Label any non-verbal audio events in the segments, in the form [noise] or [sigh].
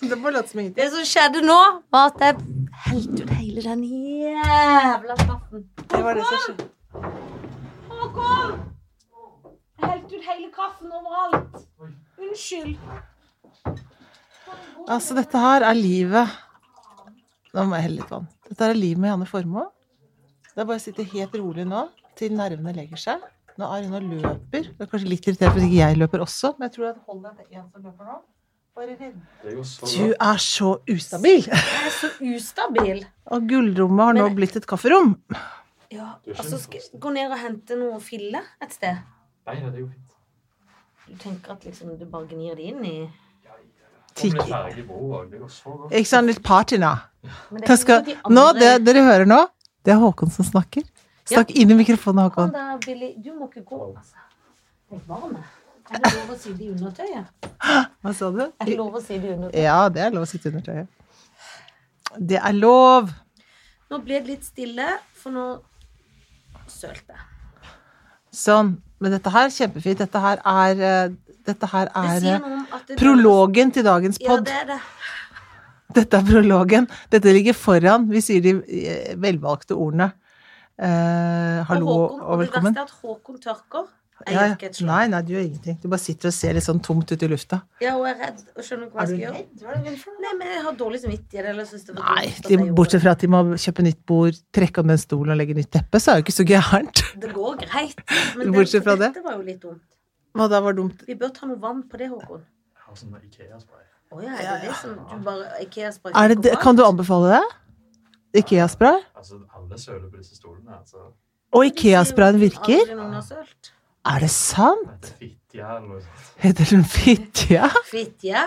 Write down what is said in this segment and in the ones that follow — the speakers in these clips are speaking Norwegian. liksom ingenting. Det som skjedde nå, var at jeg helte ut hele den jævla kaffen. Det var det som skjedde. Håkon! Jeg helte ut hele kaffen overalt. Unnskyld. Altså, dette her er livet Nå må jeg helle litt vann. Dette er livet med Janne Formoe. Det er bare å sitte helt rolig nå til nervene legger seg. Nå er hun og løper. Det er kanskje litt irriterende hvis ikke jeg løper også, men jeg tror at hold deg til én som løper nå. Bare redd. Det går så Du er så ustabil! Jeg er så ustabil. Og gullrommet har nå Men- blitt et kafferom. Ja, Du er altså, kjempefast. skal jeg gå ned og hente noe fille et sted? Nei, det går fint. Du tenker at liksom du bare gnir det inn i Tigg. Tigg. Det går så godt. Ikke sant? Litt party nå. Men Da skal, nå det dere hører nå, det er Håkon som snakker. Snakk inn i mikrofonen, Han Håkon. der, Billy, du må ikke gå, altså. Jeg er varm, jeg. Er det lov å si det i undertøyet? Hva sa du? Er det lov å si det i undertøyet? Ja, det er lov å sitte under trøya. Det er lov! Nå ble det litt stille, for nå sølte jeg. Sånn. Men dette her, kjempefint. Dette her er, eh, dette her Det er sier eh, noe om at det- prologen til dagens Ja, pod. det er det. Dette er prologen. Dette ligger foran. Vi sier de eh, velvalgte ordene. Eh, hallo og, og, Håkon, og Det velkommen. verste er at Håkon tørker. Jeg Ja, gjør ikke ja. et slag. Nei, nei, du gjør ingenting. Du bare sitter og ser litt sånn tomt ut i lufta. Ja, og jeg er redd og skjønner ikke hva jeg skal gjøre. Nei, men jeg har dårlig samvittighet. Eller synes det var Nei, dumt at de, jeg gjorde bortsett fra at de må kjøpe nytt bord, trekke om den stolen og legge nytt teppe, så er det jo ikke så gærent. det. Det går [laughs] greit. Men Bortsett fra det. dette var jo litt dumt. Hva da var dumt? Vi bør ta noe vann på det, Håkon. Jeg har sånn Ikea-spray. Å ja, er det det som du bare Ikea-spray Er det, det- på? kan du anbefale det? Ikea-spray? Altså, alle søler på disse stolene. Altså, Og Ikea-sprayen virker? Aldri noen har sølt. Er det sant? [laughs] dette fittejern og sånt. Heter den Fitja? Fittje.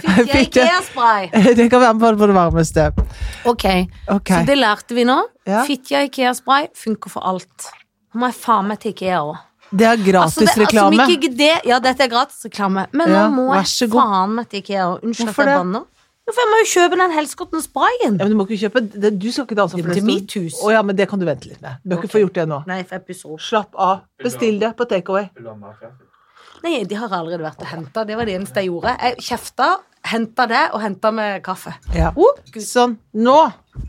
Fittje Fittje. Ikea-spray. [laughs] Det kan være på det varmeste. Ok, Ok. så det lærte vi nå. Ja. Fittje Ikea-spray funker for alt. Nå må jeg faen meg til Ikea òg. Det er gratisreklame. Altså, ikke det, ja, dette er gratisreklame, men Ja, nå må vær så jeg god. faen meg til Ikea. og Unnskyld Hvorfor at jeg det? banner. Jo, for jeg må jo kjøpe den helskotten-sprayen. Ja, men du må ikke kjøpe det- Du skal ikke danse Ja, for men det til stol- mitt hus. Å ja, men det kan du vente litt med. Du bør ikke få gjort det nå. Nei, for jeg pusser opp. Slapp av. Bestill det på takeaway. Vil du ha mer kaffe? Nei, de har allerede vært og henta. Det var det eneste jeg gjorde. Jeg kjefta, henta det, og henta med kaffe. Ja. Oh, sånn. Nå.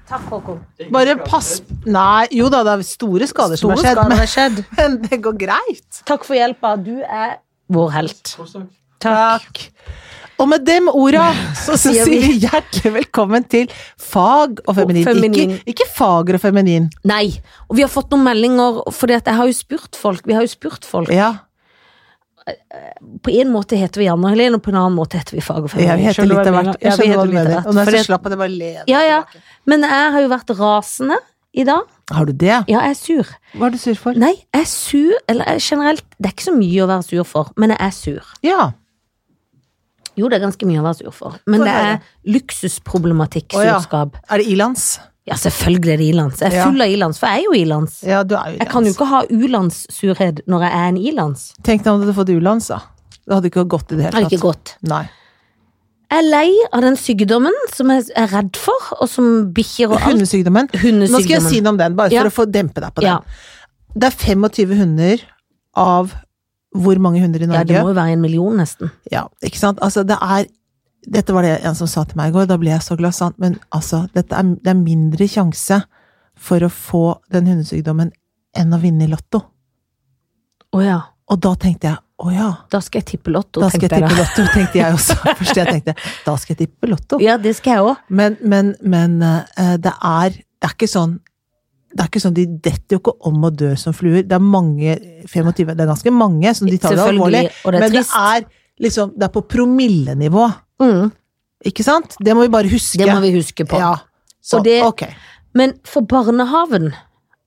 Takk, Håkon. Bare pass Nei, jo da, det er store skader som har Store skjedd, skader men- har skjedd. [laughs] men det går greit. Takk for hjelpa. Du er vår helt. Tusen takk. Takk. Og med dem orda så [laughs] sier sier vi hjertelig velkommen til Fag og feminin. feminin. Ikke, ikke fager og feminin. Nei. Og vi har fått noen meldinger, for jeg har jo spurt folk. Vi har jo spurt folk. Ja. På en måte heter vi Anna Helene, og på en annen måte heter vi Fag og Jeg Feminin. heter Skjønner du litt hva av jeg hvert. mener? Jeg Ja, vi skjønner hva du heter litt av mener. hvert, Og nå er fordi jeg at- så slapp at jeg bare ler. Ja, ja. Men jeg har jo vært rasende i dag. Har du det? Ja, jeg er sur. Hva er du sur for? Nei, jeg er sur Eller jeg- generelt, det er ikke så mye å være sur for, men jeg er sur. Ja. Jo, det er ganske mye å være sur for, men Få det høre. er Å, ja. luksusproblematikk-surskap. Er det ilands? Ja, selvfølgelig er det ilands. Jeg er Ja. full av ilands, for jeg er jo ilands. Ja, du er jo Jeg kan jo ilands. ikke ha ulandssurhet når jeg er en ilands. Tenk deg om du hadde fått ulands, da. Det hadde ikke gått i det Det er hele ikke tatt. godt. Nei. Jeg er lei av den sykdommen som jeg er redd for, og som bikkjer og alt. Hundesykdommen. [laughs] Nå skal jeg si Hundesykdommen. noe om den, bare Ja. for å få dempe deg på den. Ja. Det er 25 hunder av hvor mange hunder i ja, Norge? det må jo være en million, nesten. Ja, ikke sant? Altså, det er Dette var det en som sa til meg i går, da ble jeg så glad, sa han. Men altså, dette er, det er mindre sjanse for å få den hundesykdommen enn å vinne i Lotto. Å ja. Og da tenkte jeg å ja, Da skal jeg tippe Lotto, da skal jeg tenkte jeg tippe da. Lotto, tenkte jeg [laughs] også. [laughs] Først jeg tenkte da skal jeg tippe Lotto. Ja, det skal jeg òg. Men, men, men eh, det er Det er ikke sånn det er ikke sånn, De detter jo ikke om og dør som fluer. Det er mange, 25, det er ganske mange, som de tar det alvorlig. Selvfølgelig, og det er men trist. det er liksom, det er på promillenivå. Mm, Ikke sant? Det må vi bare huske. det må vi huske på. Ja. Så, Og det- ok. Men for barnehaven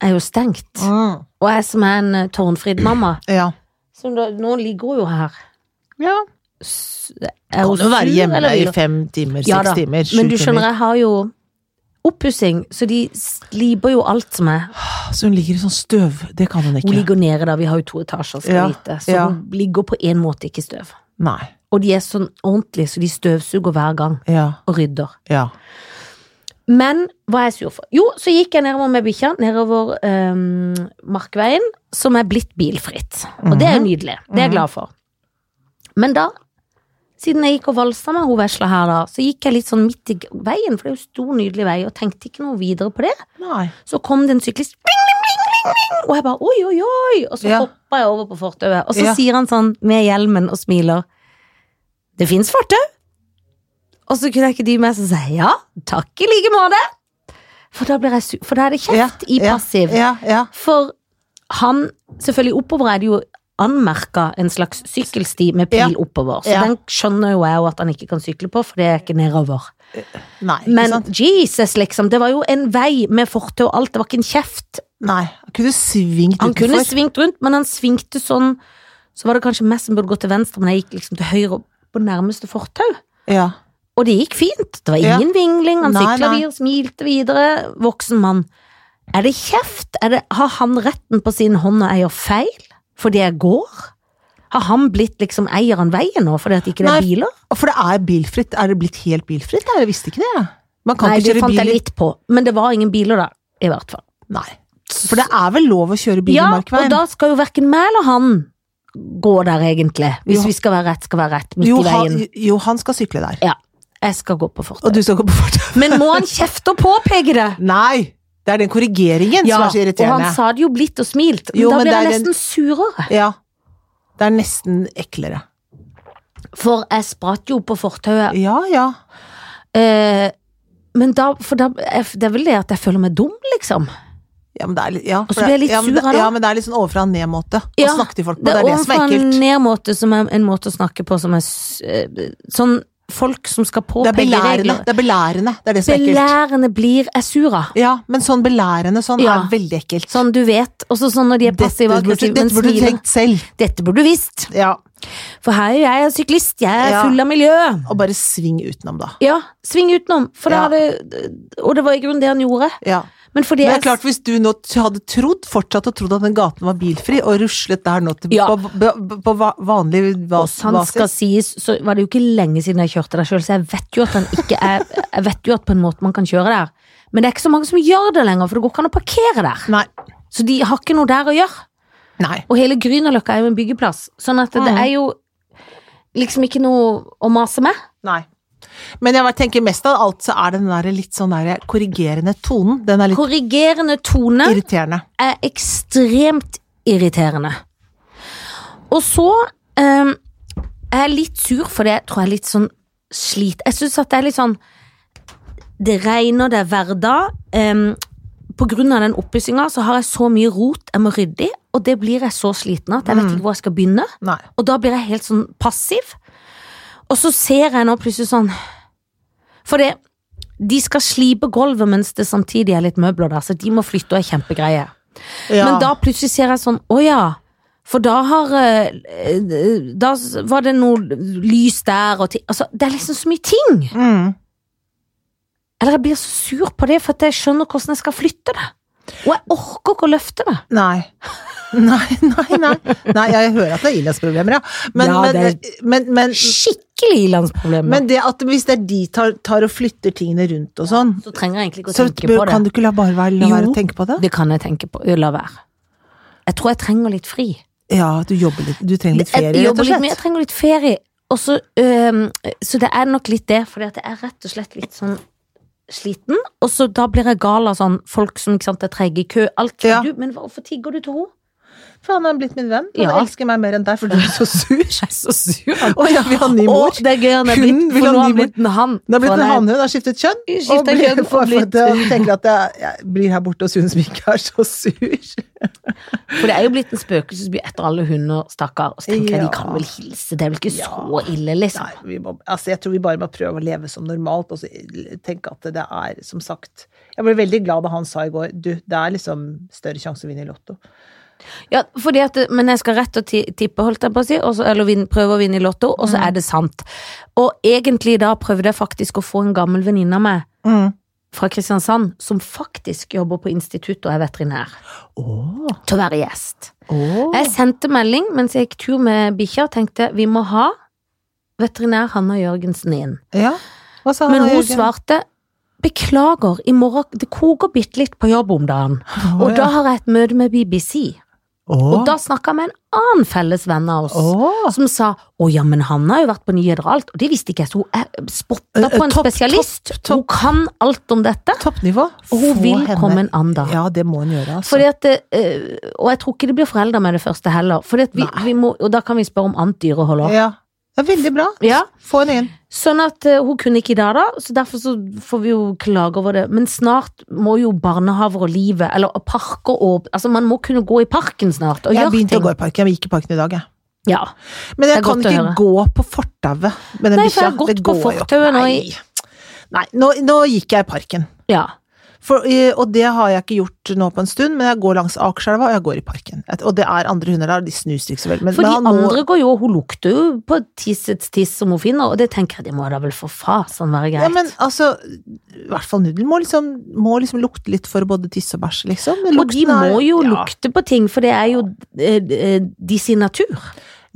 er jo stengt. Mm. Og jeg som er en eh, tårnfrid mamma, Ja. som da, nå ligger hun jo her S- Er Kan jo være hjemme eller vil i hun- fem timer, seks Ja da, timer, sju Men du skjønner, timer. jeg har jo oppussing, så de sliper jo alt som er. Så hun ligger i sånn støv. Det kan hun Hun ikke. ligger nede da, vi har jo to etasjer, skal Ja, vite. Så ja. hun ligger på en måte ikke i støv. Nei. Og de er sånn ordentlige, så de støvsuger hver gang Ja. og rydder. Ja. Men hva er jeg sur for? Jo, så gikk jeg nedover med bikkja, nedover øhm, Markveien, som er blitt bilfritt. Og det er jo nydelig. Det er jeg glad for. Men da Siden jeg gikk og valsa med hun vesla her, da, så gikk jeg litt sånn midt i g- veien, for det er jo stor, nydelig vei, og tenkte ikke noe videre på det. Nei. Så kom det en syklist, bling, bling, bling, bling, bling, og jeg bare oi, oi, oi, og så Ja. hoppa jeg over på fortauet. Og så Ja. sier han sånn med hjelmen og smiler, det fins fortau. Og så kunne jeg ikke dy meg, så sa jeg ja, takk i like måte. For da, blir jeg, su- for da er det Ja, kjeft i ja, passiv. Ja, ja. For han, selvfølgelig oppover er det jo anmerka en slags sykkelsti med pil Ja. oppover. Så Ja. den skjønner jo jeg jo at han ikke kan sykle på, for det er ikke nedover. Nei, ikke Men sant? Jesus, liksom. Det var jo en vei med fortau og alt. Det var ikke en kjeft. Nei, han kunne svingt Han kunne utenfor. svingt rundt, men han svingte sånn Så var det kanskje meg som burde gå til venstre, men jeg gikk liksom til høyre og på nærmeste fortau. Ja. Og det gikk fint. Det var Ja. ingen vingling. Han Nei, sykla nei. videre, smilte videre. Voksen mann. Er det kjeft? Er det, har han retten på sin hånd og eier feil fordi jeg går? Har han blitt liksom eier av veien nå fordi at ikke det Nei, er biler? Og For det er bilfritt. Er det blitt helt bilfritt? Nei, Jeg visste ikke det. jeg. Man kan Nei, ikke det kjøre fant bil jeg i litt på. Men det var ingen biler da, i hvert fall. Nei. For det er vel lov å kjøre bil ja, i og Markveien? da skal jo verken meg eller han gå der, egentlig. Jo. Hvis vi skal være rett, skal være rett. Midt jo, i veien. han, jo, han skal sykle der. Jeg skal gå på Og fortauet. du skal gå på fortauet. Men må han kjefte og påpeke det? Nei! [laughs] Det er den korrigeringen som er så Og irriterende. han sa det jo blidt og smilt, men Jo, da men ble jeg det er nesten surere. Ja. Det er nesten eklere. For jeg spratt jo på fortauet. Ja, ja. Eh, men da, for da jeg, Det er vel det at jeg føler meg dum, liksom. Ja, men det er litt, ja, Og så for blir jeg det- litt ja, men sur det- av det. Ja, men det er litt sånn ovenfra og ned-måte Ja, å snakke til folk på. Det er det er det som er ovenfra en ekkelt. ned-måte som er en måte å snakke på som er s- eh, Sånn folk som skal Det er påpeke belærende. regler. Det er belærende. Det er det som er ekkelt. Belærende blir jeg sur av. Ja, men sånn belærende sånn Ja. er veldig ekkelt. Sånn du vet. Og så sånn når de er Dette passive og burde, aggressive, men dette burde du smiler. tenkt selv. Dette burde du visst. Ja. For her er jeg syklist. Jeg er Ja. full av miljø. Og bare sving utenom, da. Ja, sving utenom. For Ja. da hadde, og det var i grunnen det han gjorde. Ja. Men fordi Men det jeg er klart, hvis du nå t- hadde trodd, fortsatt å trodd at den gaten var bilfri, og ruslet der nå til, Ja. på, på, på va- vanlig og vas- sant skal basis sies, så var det jo ikke lenge siden jeg kjørte der sjøl, så jeg vet jo at han ikke er [laughs] Jeg vet jo at på en måte man kan kjøre der. Men det er ikke så mange som gjør det lenger, for det går ikke an å parkere der. Nei. Så de har ikke noe der å gjøre. Nei. Og hele Grünerløkka er jo en byggeplass, sånn at det Mhm. er jo liksom ikke noe å mase med. Nei. Men jeg bare tenker mest av alt så er det den der litt sånn der korrigerende tonen. Den er litt Korrigerende tone. irriterende. er ekstremt irriterende. Og så eh, er jeg litt sur, for det tror jeg er litt sånn slit. Jeg syns at det er litt sånn Det regner, det er hverdag. eh, på grunn av den oppussinga så har jeg så mye rot jeg må rydde i, og det blir jeg så sliten av at jeg vet ikke hvor jeg skal begynne. Nei. Og da blir jeg helt sånn passiv. Og så ser jeg nå plutselig sånn For det de skal slipe gulvet mens det samtidig er litt møbler der, så de må flytte og er kjempegreie. Ja. Men da plutselig ser jeg sånn, å ja. For da har eh, eh, Da var det noe lys der og ting Altså, det er liksom så mye ting! mm. Eller jeg blir så sur på det, for at jeg skjønner hvordan jeg skal flytte det. Og jeg orker ikke å løfte det. Nei. [laughs] Nei, nei, nei. nei. Jeg hører at det er ilandsproblemer, ja. Men, Ja, men, men, men, Skikkelig ilandsproblem. men det at hvis det er de tar, tar og flytter tingene rundt og sånn, så trenger jeg egentlig ikke å så tenke på det. kan du ikke la bare være, la være Jo. å tenke på det? Det kan jeg tenke på. La være. Jeg tror jeg trenger litt fri. Ja, du jobber litt. Du trenger litt ferie, jeg, rett jobber og litt mye, jeg slett. trenger litt ferie. Og så, øhm, så det er nok litt det, for jeg er rett og slett litt sånn sliten. Og så da blir jeg gal av sånn folk som ikke sant, er trege i kø. Alt. Ja. Du, men hvorfor tigger du til henne? Faen, han er blitt min venn. Han Ja. elsker meg mer enn deg, for du er så [laughs] sur. Jeg er så sur. Å ja, vi har ny mor. Og det er gøy han er Hun blitt, vil for ha nå har ny han mor. blitt en han. Det har blitt For en han hannhund, har skiftet kjønn. er- skiftet blir- kjønn for- og for- blitt [laughs] og tenker at jeg, jeg blir her borte hos hun som ikke er så sur. For det er jo blitt en spøkelsesby etter alle hunder, stakkar. Og så tenker jeg de Ja. kan vel hilse, det er vel ikke så Ja. ille, liksom. [laughs] Nei, vi må, altså jeg tror vi bare må prøve å leve som normalt, og så tenke at det er, som sagt Jeg ble veldig glad da han sa i går du, det er liksom større sjanse å vinne i Lotto. Ja, fordi at, men jeg skal rett og ti- tippe, holdt jeg på å si, og så- eller vin, prøve å vinne i lotto, og så Mm. er det sant. Og egentlig da prøvde jeg faktisk å få en gammel venninne av meg Mm. fra Kristiansand, som faktisk jobber på institutt og er veterinær, Åh. til å være gjest. Åh. Jeg sendte melding mens jeg gikk tur med bikkja og tenkte vi må ha veterinær Hanna Jørgensen inn. Ja. Hva sa Men han, hun Jørgen? svarte beklager, i morgen, det koker bitte litt på jobb om dagen. Åh, Og ja. da har jeg et møte med BBC. Og da snakka jeg med en annen felles venn av oss. Åh. Som sa 'Å ja, men Hanna har jo vært på nyheter og alt'. Og det visste ikke jeg, så hun er spotta Eh, eh, på en topp, spesialist. topp, topp. Hun kan alt om dette. Toppnivå. Og hun Få vil henne. komme en annen dag. Ja, det må hun gjøre, altså. Fordi at, eh, og jeg tror ikke det blir foreldre med det første heller. Fordi at vi, Nei. vi må, og da kan vi spørre om annet dyrehold òg. Ja. Det er veldig bra. Ja. Få henne inn. Sånn at eh, hun kunne ikke i dag, da, så derfor så får vi jo klage over det. Men snart må jo barnehaver og livet, eller og parker og Altså, man må kunne gå i parken snart og Jeg gjøre begynte ting. å gå i parken. Jeg gikk i parken i dag, jeg. Ja. Men Det jeg er kan godt å ikke høre. gå på fortauet med den Nei, for jeg har bikkja. gått Det på går jo ikke. fortauet nå i- Nei, Nei nå, nå gikk jeg i parken. ja. For, eh, og det har jeg ikke gjort nå på en stund, men jeg går langs Akerselva, og jeg går i parken. Et- Og det er andre hunder der, og de snuser ikke så vel. Men For de men han må- andre går jo, og hun lukter jo på tissets tiss som hun finner, og det tenker jeg, det må da vel for fasen være greit. Ja, men altså, i hvert fall nudel må liksom, må liksom lukte litt for både tisse og bæsje, liksom. og de Lukten er- må jo ja. lukte på ting, for det er jo eh, eh, de sin natur.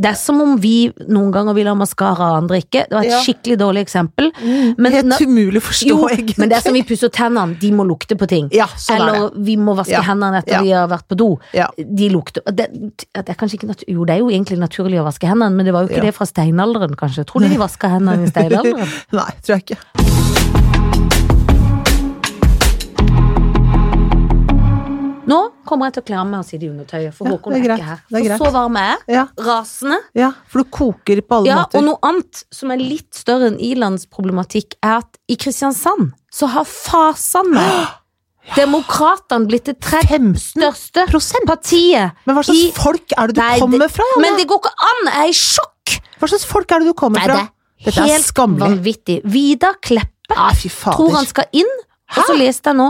Det er som om vi noen ganger vil ha maskara og andre ikke. Det var et Ja. skikkelig dårlig eksempel. Mm, Men Helt na- umulig å forstå, Jo, egentlig. men det er sånn som vi pusser tennene, de må lukte på ting. Ja, sånn er det. Eller vi må vaske Ja. hendene etter Ja. de har vært på do. Ja. De lukter det, det er kanskje ikke natu- Jo, det er jo egentlig naturlig å vaske hendene, men det var jo Ja. ikke det fra steinalderen, kanskje. Tror [laughs] du de vaska hendene i steinalderen? Nei, tror jeg ikke. Nå kommer jeg til å kle av meg og si det i undertøyet, for Ja, Håkon det er er greit. ikke her. Det er For så varm er jeg. Ja, Rasende. ja, for du koker på alle Ja, måter. og noe annet som er litt større enn Ilands problematikk, er at i Kristiansand så har [gasps] fasene, demokratene, blitt det tredje 15 største prosent? partiet. Men hva slags i- folk er det du Nei, det- kommer fra, Janne? Men det går ikke an! Jeg er i sjokk! Hva slags folk er det du kommer Nei, fra? det Dette er er helt skammelig. vanvittig. Vidar Kleppe Nei, fy fader. tror han skal inn, og så leste jeg nå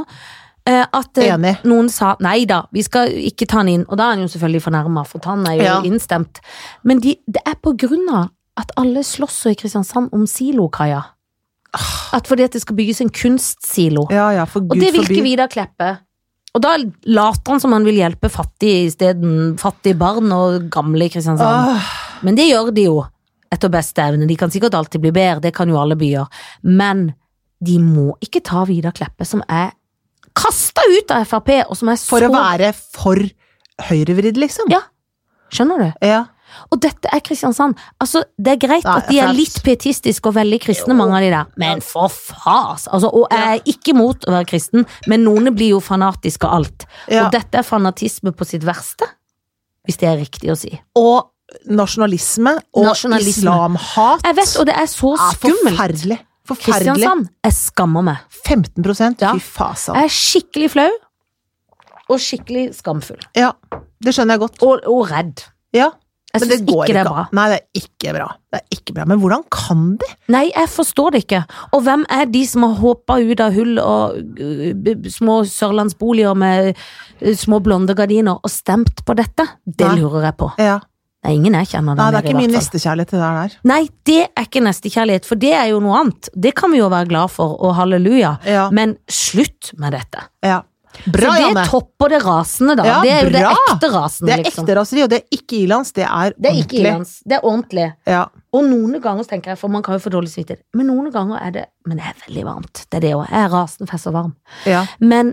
eh, at eh, Enig. noen sa nei da, vi skal ikke ta han inn. Og da er han jo selvfølgelig fornærma, for han er jo Ja. innstemt. Men de, det er på grunn av at alle slåss i Kristiansand om silokaia. At fordi at det skal bygges en kunstsilo. Ah. Ja, ja, for Og gud det vil ikke forby. Vidar Kleppe. Og da later han som han vil hjelpe fattige isteden. Fattige barn og gamle i Kristiansand. Åh, Men det gjør de jo, etter beste evne. De kan sikkert alltid bli bedre, det kan jo alle byer. Men de må ikke ta Vidar Kleppe, som er kasta ut av Frp, og som er så for å være for høyrevridd, liksom. Ja. Skjønner du? Ja. Og dette er Kristiansand. Altså, Det er greit Nei, at de er flaut. litt pietistiske og veldig kristne, mange av de der, men for fas! Altså, og jeg er ikke imot å være kristen, men noen blir jo fanatiske av alt. Ja. Og dette er fanatisme på sitt verste, hvis det er riktig å si. Og nasjonalisme og Nasjonalisme. islamhat. Jeg vet, og det er så Ja, skummelt. Forferdelig. Forferdelig. Kristiansand, jeg skammer meg. 15 prosent. Ja. Fy fasan. Jeg er skikkelig flau og skikkelig skamfull. Ja, det skjønner jeg godt. Og, og redd. Ja. Jeg Men det syns går ikke det er bra. Nei, det er ikke bra. Det er ikke bra. Men hvordan kan de? Nei, jeg forstår det ikke. Og hvem er de som har håpa ut av hull og uh, b- b- små sørlandsboliger med uh, små blonde gardiner og stemt på dette? Det Nei. lurer jeg på. Ja. Nei, ingen jeg kjenner Nei, der det er nede, ikke i min hvert fall. nestekjærlighet det der. Nei, det er ikke nestekjærlighet, for det er jo noe annet. Det kan vi jo være glad for, og halleluja. Ja. Men slutt med dette. Ja. Bra, Så det Janne. topper det rasende, da. Ja, det er jo det bra. ekte rasende, Det er liksom. ekte raseri, og det er ikke ilands. Det er Det er ikke ordentlig. Ilans. Det er ordentlig. Ja. Og noen ganger så tenker jeg, for man kan jo få dårlig samvittighet, men noen ganger er det Men det er veldig varmt. Det er det òg. Jeg er rasende fest og varm. ja. Men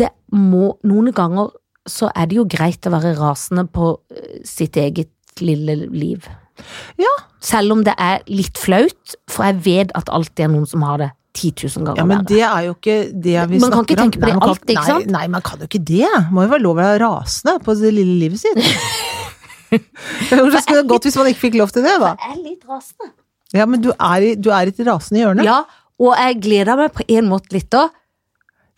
det må Noen ganger så er det jo greit å være rasende på eh, sitt eget lille liv. Ja. Selv om det er litt flaut, for jeg vet at alltid er noen som har det 10 000 ganger Ja, men verre. det er jo ikke det vi Man snakker kan ikke om. tenke på det Nei, man kan- alltid, ikke sant? Nei, nei, man kan jo ikke det. Må jo være lov å være rasende på det lille livet sitt. [laughs] det skulle gått hvis man ikke fikk lov til det, da. Jeg er litt rasende. Ja, men du er i, du er i et rasende hjørne. Ja, og jeg gleder meg på en måte litt da.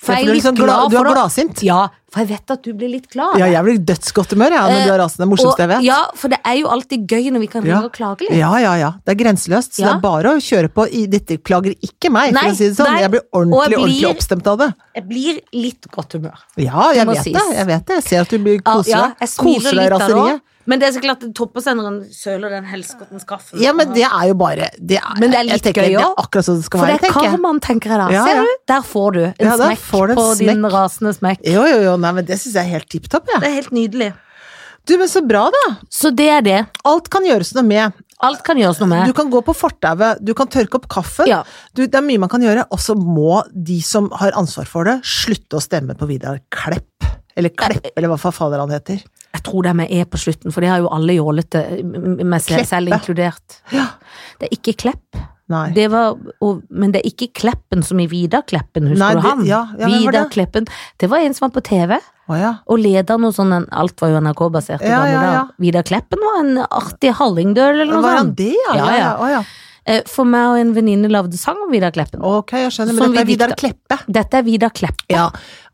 For Ja, jeg du er er litt liksom glad- glad du er for det. gladsint. Ja, for jeg vet at du blir litt glad. Ja, jeg blir i godt humør jeg, når Eh, du er rasende. Det er morsomst jeg og, vet. ja, for det er jo alltid gøy når vi kan ringe Ja. og klage litt. Ja, ja, ja. Det er grenseløst. Så Ja. det er bare å kjøre på. I, dette klager ikke meg, for Nei, å si det sånn. nei. Jeg blir Og ordentlig, jeg blir- ordentlig oppstemt av det. Jeg blir litt godt humør. Ja, jeg må vet sies. det. Jeg vet det. Jeg ser at du blir koser ja, deg. jeg smiler Koser deg i litt da da. raseriet. Men det er så klart at toppåsenderen søler den helskottens kaffen. Ja, men det er jo bare det er, Men det er jeg litt tenker gøy Det også. er akkurat sånn det skal For være, det er tenker jeg. karmaen, tenker jeg da. Ja, Ser ja. du? Der får du en Ja, der smekk får du en på din smekk. rasende smekk. Jo, jo, jo, nei, men det syns jeg er helt tipp topp, jeg. Det er helt nydelig. Du, men så bra, da. Så det er det. Alt kan gjøres noe med. Alt kan gjøres Du noe med. kan gå på fortauet, du kan tørke opp kaffen. Ja. Du, det er mye man kan gjøre, og så må de som har ansvar for det, slutte å stemme på Vidar Klepp. Eller Klepp, eller hva faen fader han heter. Jeg tror det med E på slutten, for det har jo alle jålete, m- m- meg selv, selv Kleppe. inkludert. Ja. Det er ikke Klepp. Nei. Det var, og, men det er ikke Kleppen som i Vidar Kleppen, husker Nei, du det- han? ja, ja, hvem var Vidar det? Kleppen. Det var en som var på TV Å ja. og leda noe sånn en- Alt var jo NRK-basert. i Ja, gamle ja, ja. dager. Vidar Kleppen var en artig hallingdøl eller noe Var han sånt. det, ja? Ja, Ja, ja. ja. Å ja. Eh, For meg og en venninne lagde sang om Vidar Kleppen. Ok, jeg skjønner. Men Som dette er vi Vidar dikta. Kleppe. Dette er Vidar Kleppen. Ja.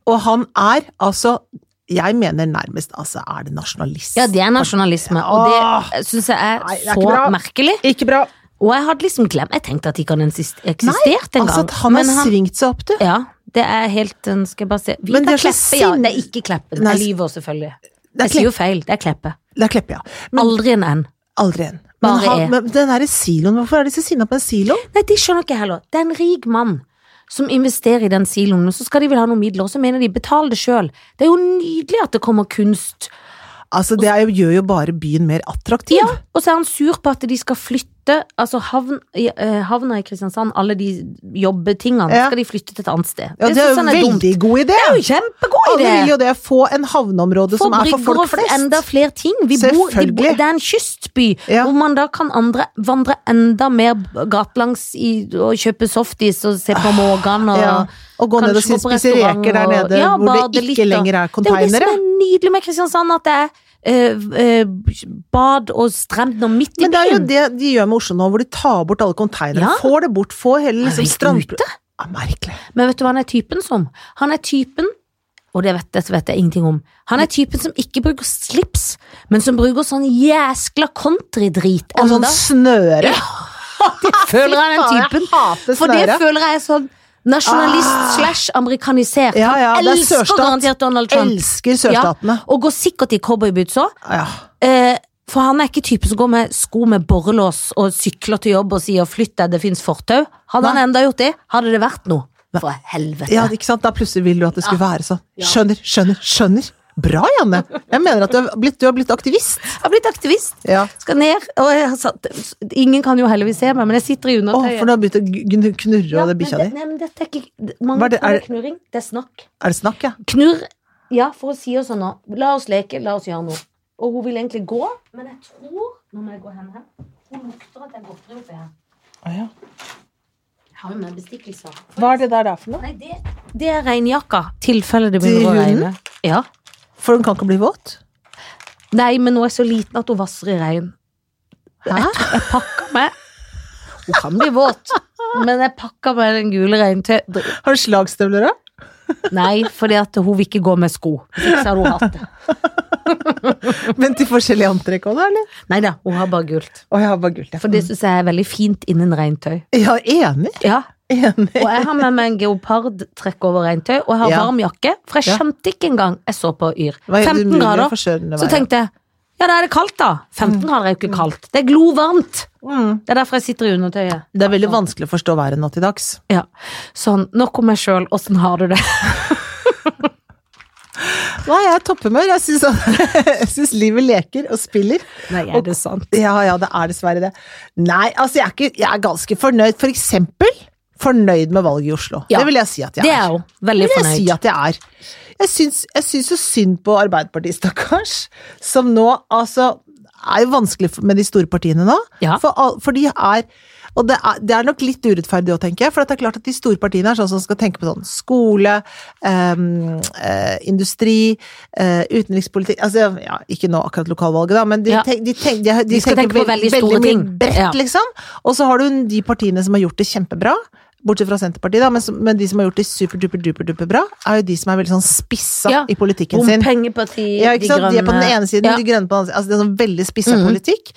Og han er altså Jeg mener nærmest altså, er det nasjonalist? Ja, det er nasjonalisme, og det syns jeg er Nei, det er ikke så bra. merkelig. Ikke bra. Og jeg hadde liksom glemt Jeg tenkte at de kan insist- eksistert en Altså, gang. at han men har svingt seg opp, du. Ja, det er helt øh, Skal jeg bare se Men Vidar det er så Kleppe, ja. sinn- Det er ikke Kleppen. Nei, Jeg lyver selvfølgelig. Det er Jeg sier Kleppe, jo feil. Det er Kleppe. det er kleppe ja. Men Aldri en N. aldri en. Men, Bare E. han, men den derre siloen, hvorfor er de så sinna på en silo? Nei, de skjønner ikke jeg heller. Det er en rik mann som investerer i den siloen, men så skal de vel ha noen midler, og så mener de betal det sjøl. Det er jo nydelig at det kommer kunst. Altså, det er jo, gjør jo bare byen mer attraktiv. Ja, og så er han sur på at de skal flytte altså havn, i, eh, havna i Kristiansand, alle de jobbetingene, Ja. skal de flytte til et annet sted. Ja, det er synes jo han en veldig god idé. sånn Det er jo kjempegod Alle idé! vil jo det. Få en havneområde som er for folk flest. enda flere ting. Vi bor, de bor, Selvfølgelig. det er en kystby, Ja. hvor man da kan andre, vandre enda mer gatelangs i, og kjøpe softis og se på måkene og Ah, Ja. Og gå ned og kanskje spise gå på spise restaurant reker der og- nede ja, hvor bade det litt ikke og- lenger er Det er jo det som konteinere. er nydelig med Kristiansand, at det er eh, eh, bad og strender midt i Men det er jo byen. det de gjør med Oslo nå, hvor de tar bort alle konteinere. Ja. Får det bort, får hele Det er liksom helt strand... ute. Ja, merkelig. Men vet du hva han er typen som? Han er typen og det vet, dette vet jeg ingenting om. Han er typen som ikke bruker slips, men som bruker sånn jæskla countrydrit. Altså, Og sånn enda. snøre. [laughs] føler han den Fy faen, typen. Jeg hater For det snøre. føler jeg er sånn nasjonalist Ah. slash amerikanisert. Ja, ja, Han det er elsker sørstat. garantert Donald Trump. Elsker sørstatene. Og går sikkert i cowboyboots òg. Ja. Eh, for han er ikke typen som går med sko med borrelås og sykler til jobb og sier 'flytt deg, det fins fortau'. Hadde han Nei. enda gjort det, hadde det vært noe. For helvete. ja, ikke sant. Da plutselig vil du at det skulle være sånn. Ja. Skjønner, skjønner, skjønner. Bra, Janne. Jeg mener at du har blitt, du har blitt aktivist. Jeg har blitt aktivist. Ja. Skal ned, og jeg har satt Ingen kan jo heldigvis se meg, men jeg sitter i Å, undertøyet. for du har begynt å gn- knurre Ja, av det men bikkja det- di. Nei, men dette er ikke Hva Mange er det- tror er det er det- knurring. Det er snakk. Er det snakk, ja? Knurr. Ja, for å si oss sånn nå. La oss leke, la oss gjøre noe. Og hun vil egentlig gå, men jeg tror Nå må jeg gå hen her. Hun lukter at det er godteri oppi her. Å, ja. Jeg har jo med bestikkelser. Hva er det der der for noe? Nei, det, det er regnjakka. Tilfelle det Til begynner å hunden? regne. Ja. For den kan ikke bli våt? Nei, men nå er jeg så liten at hun vasser i regn. Hæ? Jeg pakker meg. Hun kan bli våt, men jeg pakker meg den gule regntøyet. [laughs] Har du slagstøvler, da? Nei, fordi at hun vil ikke gå med sko. Hvis ikke så hadde hun hatt det. Men til forskjellige antrekk òg, da, eller? Nei da, hun har bare gult. Å, jeg har bare gult, ja. For det syns jeg er veldig fint innen regntøy. Ja, enig. Ja, Enig. Og jeg har med meg en geopardtrekk over regntøy, og jeg har Ja. varm jakke, for jeg Ja. skjønte ikke engang jeg så på Yr. Hva gjør det 15 mulig grader. for skjørene å Så være? tenkte jeg ja, da er det kaldt, da. 15 grader er jo ikke kaldt. Det er glovarmt. Mm. Det er derfor jeg sitter i undertøyet. Det er veldig vanskelig å forstå været nå til dags. Ja. Sånn, nok om meg sjøl, åssen har du det? Nei, jeg er topphumør. Jeg syns [laughs] jeg syns livet leker og spiller. [laughs] Nei, er det sant? [laughs] Ja, ja, det er dessverre det. Nei, altså jeg er, ikke, jeg er ganske fornøyd. For eksempel fornøyd med valget i Oslo. Ja. Det vil jeg si at jeg Det er er. jo veldig Det vil jeg fornøyd. si at jeg er. Jeg syns, jeg syns jo synd på Arbeiderpartiet, stakkars. Som nå, altså er jo vanskelig for- med de store partiene nå. Ja. For, all- for de er Og det er, det er nok litt urettferdig å tenke jeg. For det er klart at de store partiene er sånn som skal tenke på sånn skole, ehm, eh, industri, eh, utenrikspolitikk Altså ja, ikke nå akkurat lokalvalget, da, men de, Ja. tenk, de, tenk, de, de, De skal tenker tenke på veld- veldig store mye ting. bredt, Ja. liksom. Og så har du de partiene som har gjort det kjempebra. Bortsett fra Senterpartiet, da, men, som- men de som har gjort det superduper-duper-duper bra, er jo de som er veldig sånn spissa Ja. i politikken sin. Bompengeparti, Ja, ikke sant? De er på den ene siden, Ja. Mm-hmm. de grønne på den andre siden. Altså, det er sånn veldig spissa politikk.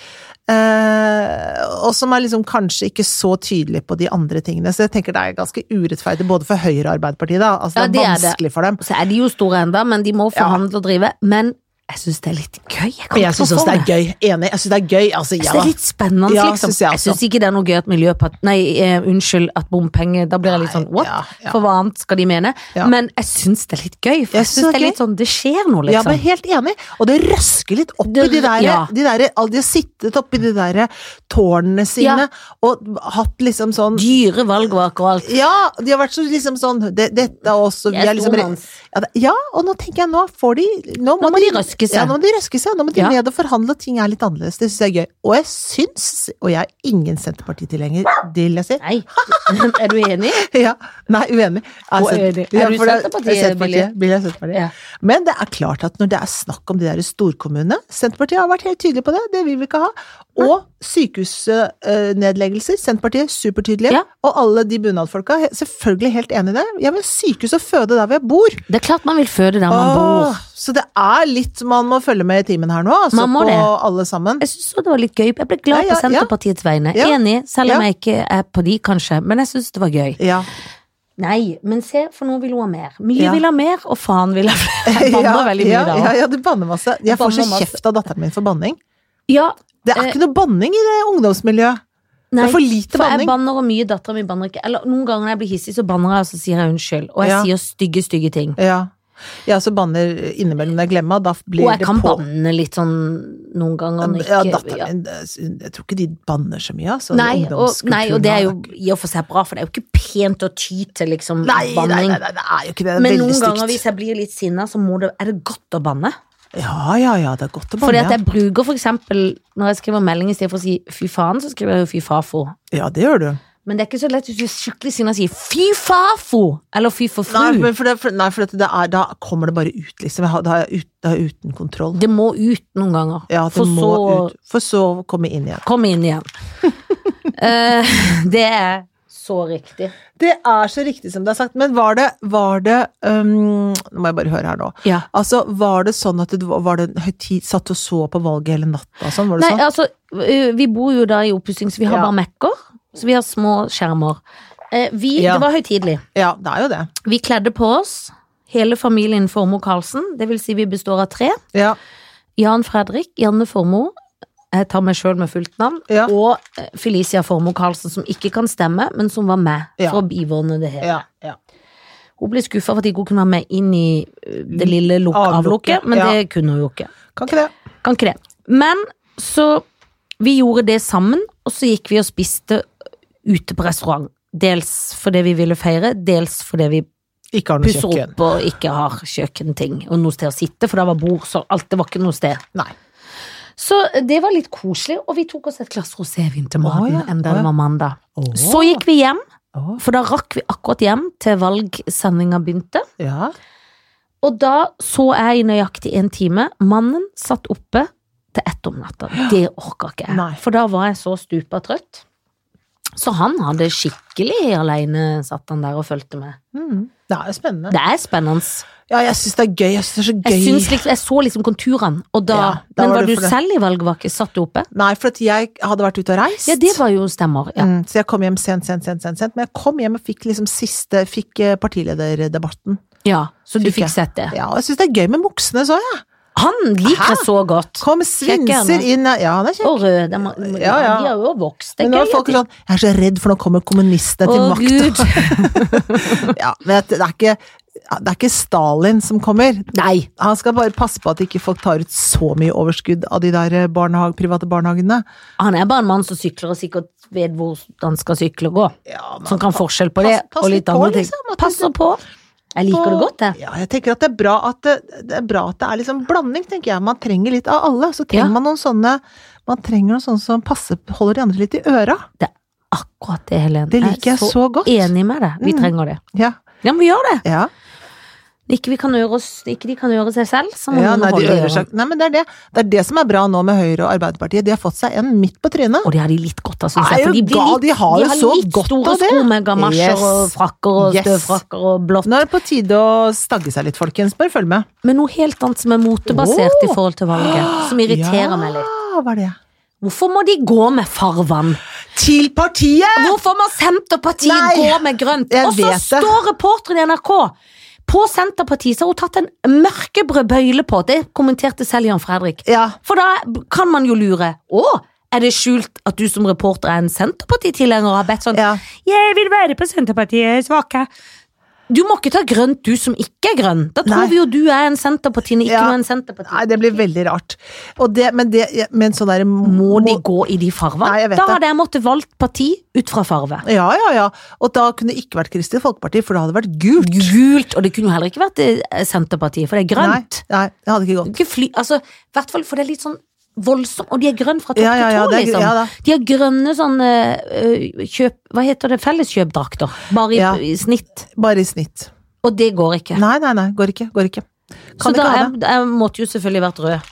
Eh, og som er liksom kanskje ikke så tydelig på de andre tingene. Så jeg tenker det er ganske urettferdig både for Høyre og Arbeiderpartiet, da. Altså, det Ja, er det er det. vanskelig for dem. Så er de jo store enda, men de må forhandle og drive. Men jeg syns det er litt gøy. Jeg kan Men jeg ikke syns også forstå det er det. gøy. Enig. Jeg syns det er gøy. Altså, Jeg ja synes det da. er litt spennende, Ja, liksom. synes jeg Jeg også. syns ikke det er noe gøy at miljøpart... Nei, eh, unnskyld, at bompenger Da blir jeg litt sånn Nei, what? ja, ja. For hva annet skal de mene? Ja. Men jeg syns det er litt gøy. For Jeg jeg synes syns det er det er litt sånn Det skjer noe, Ja, men liksom. helt enig. Og det røsker litt opp Det- i de der, ja. de der alle De har sittet oppi de der tårnene sine Ja. og hatt liksom sånn Dyre valgvaker og alt. Ja, de har vært så liksom sånn det, Dette er oss, og vi Jeg er liksom tror hans. ja, det, ja, og nå tenker jeg, nå får de Nå må, må de røske røske Ja, seg. nå må de røske seg, nå må de Ja. ned og forhandle, og ting er litt annerledes. Det syns jeg er gøy. Og jeg syns, og jeg er ingen Senterpartitilhenger, det vil jeg si. [laughs] Nei, [laughs] er du enig? Ja, nei, uenig. Og uenig. Er Altså, du for det- Senterpartiet, Senterpartiet? Billy er Senterpartiet. Ja. Men det er klart at når det er snakk om de der storkommunene Senterpartiet har vært helt tydelig på det, det vil vi ikke ha. Og sykehusnedleggelser. Senterpartiet supertydelige. Ja. Og alle de bunadfolka. he- Selvfølgelig helt enig i det. Jeg vil sykehus og føde der hvor jeg bor. Det er klart man vil føde der Åh, man bor. så det er litt man må følge med i timen her nå, altså Man må på det. alle sammen. Jeg syns det var litt gøy. Jeg ble glad Ja, ja, på Senterpartiets vegne. Ja. Enig, selv Ja. om jeg ikke er på de, kanskje. Men jeg syns det var gøy. Ja. Nei, men se, for nå vil hun ha mer. Mye Ja. vil ha mer, og faen vil ha [laughs] flere. Jeg banner ja, veldig mye ja, der ja, òg. ja, du banner masse. Jeg får så banner masse. kjeft av datteren min for banning. Ja, Det er Eh. ikke noe banning i det ungdomsmiljøet. nei. det er for lite For jeg banning. banner og mye, dattera mi banner ikke. Eller noen ganger når jeg blir hissig, så banner jeg, og så sier jeg unnskyld. Og jeg Ja. sier stygge, stygge ting. ja. Jeg også banner innimellom når jeg glemmer, da blir Og jeg det kan på. banne litt sånn noen ganger. når Ja, ikke- ja. datteren min Jeg tror ikke de banner så mye, altså. Nei og, Ungdomskulturen nei, og det er jo har- i og for seg bra, for det er jo ikke pent å ty til liksom Nei, nei, nei, banning. nei, det er jo ikke det. Det er Men veldig noen ganger stygt. hvis jeg blir litt sinna, så må det, er det godt å banne. Ja, ja, ja, det er godt å Fordi banne. at jeg bruker for eksempel, når jeg skriver melding i stedet for å si fy faen, så skriver jeg jo fy fafo. ja. ja, det gjør du. Men det er ikke så lett hvis du er skikkelig sinna og sier fy fafo eller fy for Nei, fru. men for, det, for, nei, for at det er, da kommer det bare ut, liksom. Jeg har- Da er jeg ut, da er jeg uten kontroll. Det må ut noen ganger, Ja, det for må så ut. For så å komme inn igjen. komme [laughs] inn igjen. Eh, det er så riktig. Det er så riktig som det er sagt, men var det, var det øhm, Nå må jeg bare høre her nå. Ja. Altså, Var det sånn at du var det høytid, satt og så på valget hele natta? og Sånn, var det Nei, sånn? altså, ø, vi bor jo da i oppussing, så vi har Ja. bare Mac-er. Så vi har små skjermer. Eh, Vi, Ja. Det var høytidelig. Ja, det er jo det. Vi kledde på oss, hele familien Formoe Karlsen. Det vil si vi består av tre. Ja, Jan Fredrik, Janne Formoe, jeg tar meg sjøl med fullt navn, Ja. og eh, Felicia Formoe Karlsen, som ikke kan stemme, men som var med Ja. for å bivåne det hele. ja, ja. Hun ble skuffa for at ikke hun kunne være med inn i eh, det lille luk Avlukket, avlukket, men ja. det kunne hun jo ikke. Kan ikke det. Kan ikke det. Men så Vi gjorde det sammen, og så gikk vi og spiste ute på restaurant. Dels fordi vi ville feire, dels fordi vi Ikke har noe pusser kjøkken. opp og ikke har kjøkkenting og noe sted å sitte, for det var bord, så alt det var ikke noe sted. Nei. Så det var litt koselig, og vi tok oss et glass rosévin til Å, maten, ja, enda å, ja. det var mandag. Åh, Så gikk vi hjem, åh, for da rakk vi akkurat hjem til valgsendinga begynte. ja. Og da så jeg i nøyaktig en time. Mannen satt oppe til ett om natta. Det orka ikke jeg. Nei. For da var jeg så stupa trøtt. Så han hadde skikkelig aleine satt han der og fulgte med. Mm. Det er jo spennende. Det er spennende. Ja, jeg syns det er gøy. Jeg syns det er så gøy. Jeg, syns liksom, jeg så liksom konturene, og da, Ja, da Men var du var du for det. selv i valgvake? Satt du oppe? Nei, for at jeg hadde vært ute og reist. Ja, det var jo stemmer. Ja. Mm, så jeg kom hjem sent, sent, sent, sent, sent. Men jeg kom hjem og fikk liksom siste Fikk eh, partilederdebatten. ja så du Fikk jeg. fikk sett det. Ja, og jeg syns det er gøy med buksene, så jeg. Han liker jeg så godt. Kom Kjekk er svinser han. inn Ja, han er kjekk. Og rød. De, har- Ja, ja. de har jo vokst. Det Men er nå gøy. er folk at de- sånn Jeg er så redd, for nå kommer kommunistene til Å, makt. [laughs] ja, men det er, ikke, det er ikke Stalin som kommer. Nei. Han skal bare passe på at ikke folk tar ut så mye overskudd av de der eh, barnehag, private barnehagene. Han er bare en mann som sykler og sikkert vet hvor han skal sykle og gå. Ja, men Som kan forskjell på det Pass- pass og litt litt på, andre ting. liksom, at Passer på. Jeg liker det godt, jeg. Ja, jeg tenker at det er bra at det, det er, bra at det er liksom blanding, tenker jeg. Man trenger litt av alle. Så trenger Ja. man noen sånne Man trenger noen sånne som passer, holder de andre litt i øra. Akkurat det, Helen. Det liker jeg så godt. enig med deg. Vi Mm. trenger det. Ja. Ja, men vi gjør det. ja. Ikke, vi kan øre oss, ikke de kan øre seg selv, så må ja noen nei, de holde ører ørene. seg Nei, men det er det. Det er det som er bra nå med Høyre og Arbeiderpartiet. De har fått seg en midt på trynet. Og det har de litt godt av, syns Er jeg. For du de, blir gal? litt, De har jo så godt store av det. sko med gamasjer Yes. og frakker og Yes. støvfrakker og blått. Nå er det på tide å stagge seg litt, folkens. Bare følg med. Men noe helt annet som er motebasert i forhold til valget, som irriterer ja, meg litt. Hva er det? Hvorfor må de gå med farvann? Til partiet! Hvorfor må Senterpartiet Nei, gå med grønt? jeg Og så vet det. står reporteren i NRK på Senterpartiet, så har hun tatt en mørkebrød bøyle på. Det kommenterte selv Jan Fredrik. Ja. For da kan man jo lure. Å, er det skjult at du som reporter er en Senterparti-tilhenger og har bedt sånn ja. Jeg vil være på Senterpartiet, svake. Du må ikke ta grønt, du som ikke er grønn. Da tror Nei. vi jo du er en senterpartiner, ikke Ja. noe en senterpartiner. Nei, det blir veldig rart. Og det, men det, men sånn derre Må de gå i de farvene? Nei, jeg vet da det. hadde jeg måttet valgt parti ut fra farve. Ja, ja, ja. Og da kunne det ikke vært Kristelig Folkeparti, for det hadde vært gult. Gult, og det kunne jo heller ikke vært eh, Senterpartiet, for det er grønt. Nei, nei, det hadde ikke gått. Du kan fly, altså, i hvert fall for det er litt sånn voldsomt, og de er grønne fra topp Ja, ja, ja, til tå, det er- liksom. ja da. de har grønne sånne eh, kjøp, hva heter det, felleskjøpdrakter, bare i, Ja. i snitt, Bare i snitt. og det går ikke. Nei, nei, nei. Går ikke. Går ikke. Så Kan da ikke ha det. jeg, jeg måtte jo selvfølgelig vært rød.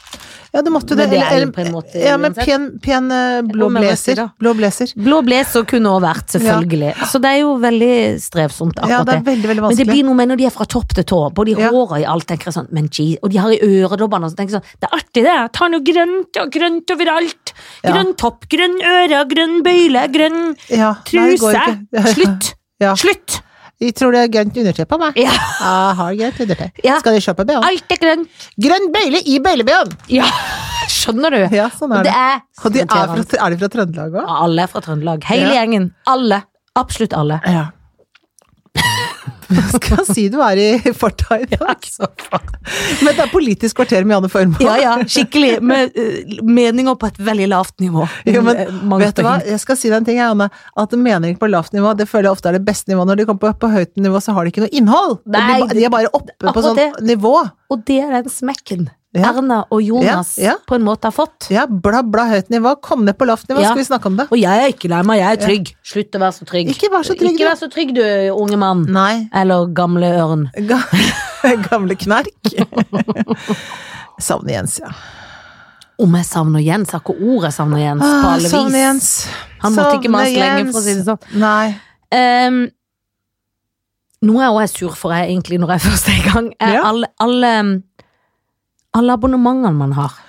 Ja, du måtte jo det. Men det er Eller- jo på en måte ja, men uansett. pen, pen eh, blå Eller med rødt i blazer. det. Blå blazer. Blå blazer kunne også vært, selvfølgelig. Så det er jo veldig strevsomt, Ja, akkurat det er det. veldig, veldig Men det vanskelig. blir noe med når de er fra topp til tå, både i Ja. håret og i alt, tenker jeg sånn, men gee, og de har i øredobbene og sånn, tenker jeg sånn, det er artig det, ta noe grønt og grønt overalt, Ja. grønn topp, grønn øre, grønn bøyle, grønn Ja, nei, det går truse, ikke. [laughs] slutt, Ja. slutt, Jeg tror det er grønt undertøy på meg. ja, Jeg har grønt undertøy. Ja. Skal du kjøpe BH? alt er grønt, Grønn bøyle i bøylebøen! ja, [laughs] skjønner du? Ja, sånn Og er det det. er, Og de er, fra, irriterende. er de fra Trøndelag òg? Ja, alle er fra Trøndelag, hele Ja. gjengen, alle, absolutt alle. Ja. Jeg [laughs] skal si du er i farta i dag. Men det er Politisk kvarter med Janne Formoe. Ja, ja, skikkelig. Med eh, meninger på et veldig lavt nivå. Jo, men Eh, mangt vet du og hva, hint. jeg skal si deg en ting, jeg, Anne. At mening på lavt nivå, det føler jeg ofte er det beste nivået. Når de kommer på, på høyt nivå, så har de ikke noe innhold. Det Nei, blir, ba- de er bare oppe på akkurat sånn nivå. Og det er den smekken Ja. Erna og Jonas Ja, ja. på en måte har fått. Ja, bla, bla, høyt nivå. Kom ned på lavt nivå, Ja. skal vi snakke om det. Og jeg er ikke lei meg, jeg er trygg. Slutt å være så trygg. Ikke vær så trygg, Ikke du. vær så trygg, du unge mann. Nei. Eller gamle ørn. Ga [laughs] Gamle knerk. [laughs] Savner Jens, ja. Om jeg savner Jens, har ikke ord jeg savner Jens. På Ah, alle Savner vis. Jens. Han måtte ikke Savner mase lenge, for å Jens. si det sånn. Nei. Um, noe jeg òg er sur for, jeg, egentlig, når jeg [laughs] først er i gang, er Ja. alle, alle, alle abonnementene man har.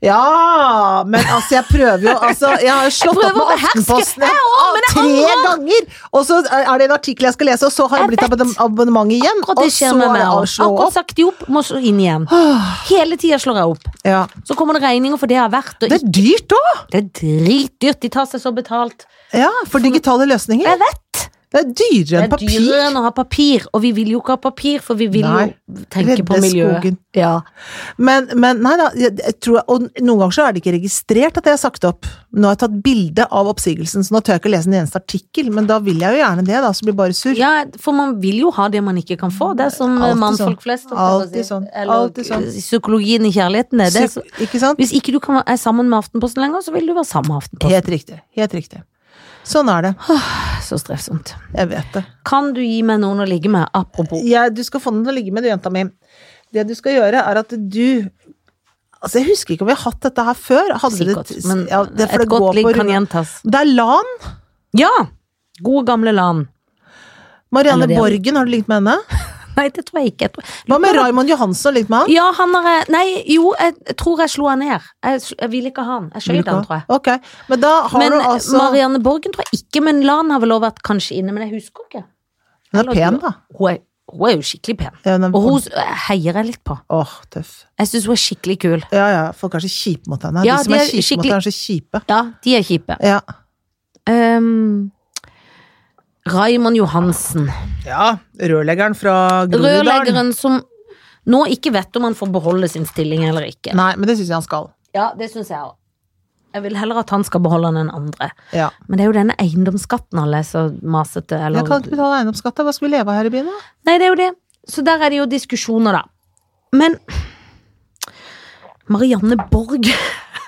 Ja, men altså, jeg prøver jo altså, Jeg har jo slått opp Jeg prøver med å beherske- Aftenposten Jeg også, men jeg tre ganger! Og så er det en artikkel jeg skal lese, og så har det Jeg blitt abonnem- abonnement igjen. Akkurat det og skjer så med er meg det å også. slå Akkurat opp. Ah. sagt de opp, må slå inn igjen. Hele tida slår jeg opp. Ja. Så kommer det regninger for det jeg har vært, og Det det, er dyrt òg! det er dritdyrt. De tar seg så betalt. Ja, for digitale løsninger. Jeg vet! Det er dyrere Det enn er papir. dyrere enn å ha papir, og vi vil jo ikke ha papir, for vi vil Nei. jo tenke på Redde miljøet. skogen. Ja. Men, men nei da, jeg, jeg tror, og noen ganger så er det ikke registrert at jeg har sagt opp. Nå har jeg tatt bilde av oppsigelsen, så nå tør jeg ikke lese en eneste artikkel, men da vil jeg jo gjerne det, da, så blir jeg bare sur. ja, for man vil jo ha det man ikke kan få. Det er som eh, Altid mannfolk sånn. flest. Altid holdt jeg på å si. sånn. Eller eh, Altid sånn. psykologien i kjærligheten. Er det. Syk- Så, ikke sant? hvis ikke du kan være sammen med Aftenposten lenger, så vil du være sammen med Aftenposten. Helt riktig. Helt riktig. Sånn er det. Så strevsomt. Jeg vet det. Kan du gi meg noen å ligge med, apropos? Jeg, du skal få den til å ligge med, du, jenta mi. Det du skal gjøre, er at du Altså, jeg husker ikke om vi har hatt dette her før. Hadde vi Sikkert, men ja, det, for et det går godt på ligg kan runde- gjentas. Det er LAN. Ja! Gode, gamle LAN. Marianne Eller det- Borgen, har du ligget med henne? Nei, det tror jeg ikke. Jeg tror... Hva med Raymond Johansen, har du ligget med han? Ja, han har jeg- Nei, jo, jeg jeg tror jeg slo han ned. Jeg, sl- jeg ville ikke ha han. Jeg skjøt han, tror jeg. Ok, men da har Men eh, du altså Marianne Borgen tror jeg ikke, men LAN har vel også vært kanskje inne, men jeg husker ikke. Hun er pen, da. Hun er, hun er jo skikkelig pen. Ja, hun er- Og hun s- eh, heier jeg litt på. Åh, tøff. Jeg syns hun er skikkelig kul. Ja ja, folk er så kjipe mot henne. Ja, de som de er er kjipe mot skikkelig- henne, er så kjipe. Ja, de er kjipe. Ja. Um, Raymond Johansen. ja. Rørleggeren fra Groruddalen. Rørleggeren som nå ikke vet om han får beholde sin stilling eller ikke. Nei, men det syns jeg han skal. Ja, det syns jeg òg. Jeg vil heller at han skal beholde den enn andre. Ja. Men det er jo denne eiendomsskatten alle er så masete eller Jeg kan ikke betale eiendomsskatt, da. Hva skal vi leve av her i byen, da? Nei, det er jo det. Så der er det jo diskusjoner, da. Men Marianne Borg [laughs]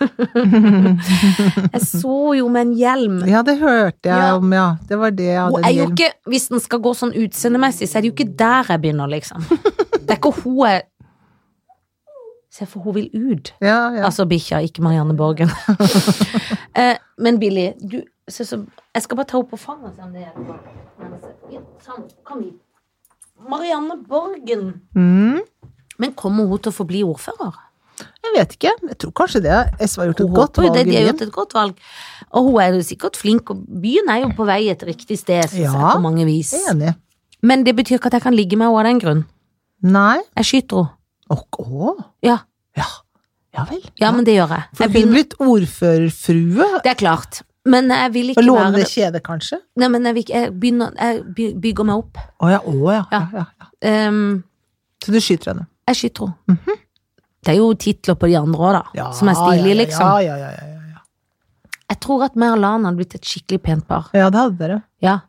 Jeg så jo med en hjelm. Ja, det hørte jeg Ja. om, ja. Det var det jeg hadde Hun er en jo hjelm. ikke, hvis den skal gå sånn utseendemessig, så er det jo ikke der jeg begynner, liksom. Det er ikke hun jeg Se, for hun vil ut. Ja, ja. Altså bikkja, ikke Marianne Borgen. [laughs] eh, men Billy, du se så, Jeg skal bare ta henne på fanget og se om det hjelper. Ja, sånn, Kom hit. Marianne Borgen. Mm. Men kommer hun til å forbli ordfører? Jeg vet ikke. Jeg tror kanskje det. SV har gjort et Hun godt håper jo valg det, i de har byen. gjort et godt valg. Og hun er jo sikkert flink, og byen er jo på vei et riktig sted, synes jeg, Ja, på mange vis. Jeg er Enig. Men det betyr ikke at jeg kan ligge med henne av den grunn. Nei. Jeg skyter henne. Å, å. Ja. Ja. Ja vel. ja, men det gjør jeg. For hun jeg kunne begynner... blitt ordførerfrue. Det er klart. Men jeg vil Og ikke låne være det kjedet, kanskje? Nei, men jeg, vil ikke, jeg, begynner, jeg by- bygger meg opp. Å ja, å ja. ja. Ja. ja, ja. Ehm, Så du skyter henne? jeg skyter henne. Det er jo titler på de andre òg, da. Mhm. Ja, som er stilige, ja, ja, liksom. Ja, ja, ja, ja, ja. Jeg tror at meg og Lana hadde blitt et skikkelig pent par. ja det hadde dere. Ja.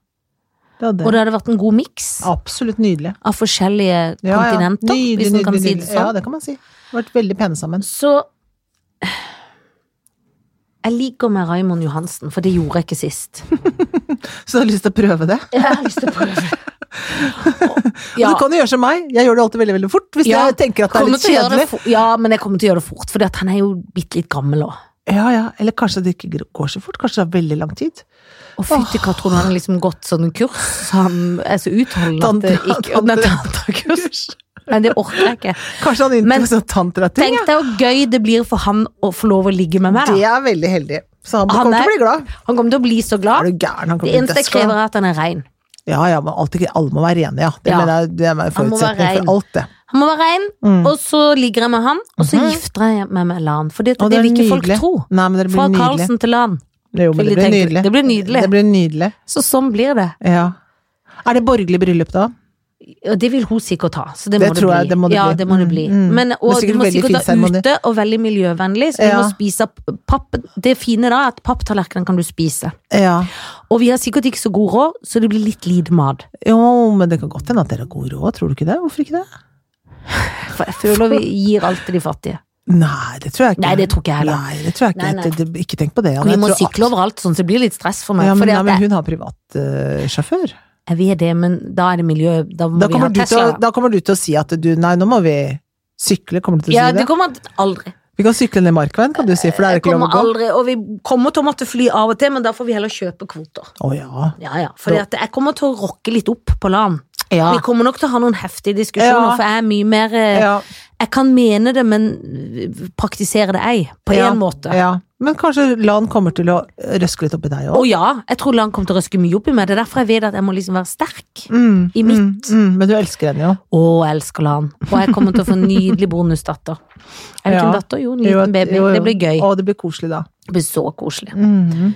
Det hadde Og dere. det hadde vært en god miks Absolutt nydelig. av forskjellige Ja, ja. kontinenter, Nydelig, hvis man kan nydelig, si det nydelig. Ja, sånn. det kan man si. Vært veldig pene sammen. Så jeg ligger med Raymond Johansen, for det gjorde jeg ikke [laughs] sist. Så du har lyst til å prøve det? Jeg har lyst til å prøve. [laughs] Og du kan jo gjøre som meg, jeg gjør det alltid veldig veldig fort hvis Ja, jeg tenker at det er Kommer litt til å gjøre det kjedelig. fo- ja, men jeg kommer til å gjøre det fort, for han er jo bitte litt gammel òg. Ja, ja. Eller kanskje det ikke går så fort, kanskje det har veldig lang tid. Og fytti katt, tror du han har liksom gått sånn kurs? så Han er så utholdende at det Tantra- ikke Nei, tantrakurs. Nei, det orker jeg ikke. Kanskje han Men- inntok sånn tantrating? Tenk ja. deg hvor gøy det blir for han å få lov å ligge med meg, Det da. er veldig heldig. Så han, Han kommer er- til å bli glad. Han kommer til å bli så Er glad. du gæren? Han kommer til å Det bli eneste jeg dødsglad. krever, er at han er rein. Ja, ja, men alt, ikke- alle må være rene, ja. Det, Ja. Mener jeg, det er en Han må være forutsetning ren. for alt, det. Han må være rein, Mm. og så ligger jeg med han, og så Mhm. gifter jeg meg med Lan. For det, Og det er vil ikke folk nydelig. tro. Nei, men det blir Fra nydelig. Karlsen til Lan. Jo, men vil det de blir tenke. nydelig. Det blir nydelig. Det blir nydelig, Så sånn blir det. ja. Er det borgerlig bryllup, da? Og det vil hun sikkert ha. Så det, Det må det tror bli. jeg det må det ja, bli. det må det Mm, bli. mm. Men, Det er og sikkert du må veldig sikkert fin være seremoni. ute og veldig miljøvennlig, så du Ja. må spise p- papp. Det fine da er at papptallerkenen kan du spise. Ja. Og vi har sikkert ikke så god råd, så det blir litt lite mat. Jo, men det kan godt hende at dere har god råd, tror du ikke det? Hvorfor ikke det? For jeg føler vi gir alt til de fattige. Nei, det tror jeg ikke. Nei, det tror ikke jeg heller. Nei, det tror jeg ikke. Nei, nei. Det, det, ikke tenk på det. Anne. Og vi Jeg må tror sykle abs- overalt, sånn, så det blir litt stress for meg. Ja, men, fordi nei, at men jeg, hun har privatsjåfør. jeg vet det, men da er det miljø Da må Da, vi ha kommer du til Tesla. å- da kommer du til å si at du Nei, nå må vi sykle, kommer du til å ja, si det det? kommer aldri. Vi kan sykle ned Markveien, kan du si, for det er Jeg ikke lov å kommer gå. aldri, og vi kommer til å måtte fly av og til, men da får vi heller kjøpe kvoter. Å ja. Ja, ja, fordi at jeg kommer til å rocke litt opp på LAN. Ja. Vi kommer nok til å ha noen heftige diskusjoner, Ja. for jeg er mye mer eh, ja. Jeg kan mene det, men øh, praktisere det ei, på én Ja. måte. Ja, men kanskje Lan kommer til å røske litt oppi deg Og òg. ja, jeg tror LAN kommer til å røske mye opp i meg. Det er derfor jeg vet at jeg må liksom være sterk. Mm, i mitt. Mm, mm, men du elsker henne jo. Å, jeg elsker LAN. Og jeg kommer til å få en nydelig bonusdatter. Er det ikke Ja. en datter? Jo, en Jo, liten jo, baby. jo. Det blir gøy. Å, det blir koselig da. Det blir så koselig. Mhm.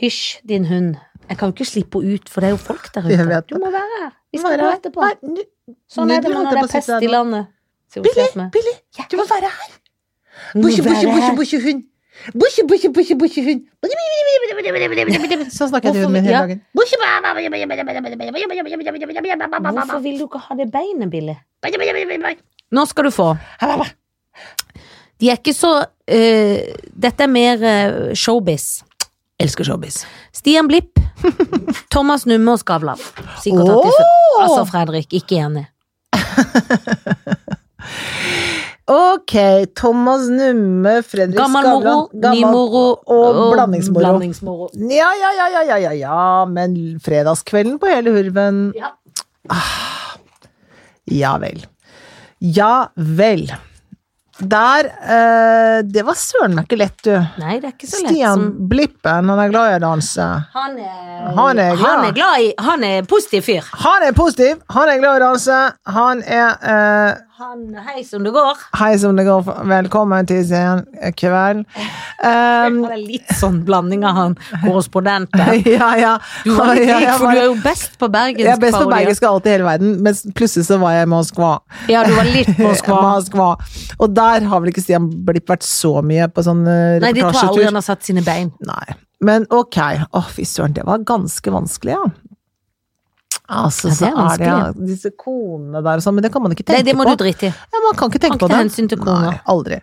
Hysj, din hund. Jeg kan jo ikke slippe henne ut, for det er jo folk der ute. Jeg vet Du må være her. Vi skal Være gå her. etterpå. Nei, nu- Sånn er det Nudel når holdt jeg på det å er pest si til i deg nå. landet. Sier hun slett med. Billy, Ja. du må være her! Må Bosje, bosje, være bosje, her. bosje, hund! Bosje, bosje, bosje, bosje, hund! Sånn snakker jeg til hunden min hele Ja. dagen. Hvorfor vil du ikke ha det beinet, Billy? Nå skal du få. De er ikke så eh, Dette er mer eh, showbiz. Elsker showbiz. Stian [laughs] Blipp, Thomas Numme og Skavlan. Sikkert hatt i før. Altså, Fredrik, ikke enig. Ok, Thomas Numme, Fredrik Gammel moro, Skavlan ny gammel- moro og blandingsmoro. blandingsmoro. Ja, ja, ja, ja, ja, ja, ja, men fredagskvelden på hele hurven Ja. Ah, ja vel. Ja vel. Der eh, Det var søren meg ikke lett, du. Nei, det er ikke så lett Stian som Blippen, han er glad i å danse. han er, Han er glad. han er glad i Han er positiv fyr. Han er positiv, han er glad i å danse. Han er eh, Han Hei som det går. Hei som det går, velkommen til sen kveld. Um, Han er litt sånn blanding av han korrespondenten. [laughs] ja, ja. Du var litt [laughs] Ja, lik, jeg for var- du er jo best på bergensk. Jeg er best på parodier. bergensk av alt i hele verden, men plutselig så var jeg i Moskva. Ja, du var litt [laughs] Moskva. Moskva. Og der har vel ikke Stian Blipp vært så mye på sånn eh, Nei, de tror jeg aldri reportasjetur. han har satt sine bein. Nei. Men ok. Å, fy søren, det var ganske vanskelig, ja. Altså, Ja, det så er er det ja, vanskelig. disse konene der og sånn, men det kan man ikke tenke Nei, det må på. du drite i. Ja, man kan ikke tenke Kan ikke på ta det. hensyn til koner. Nei, aldri.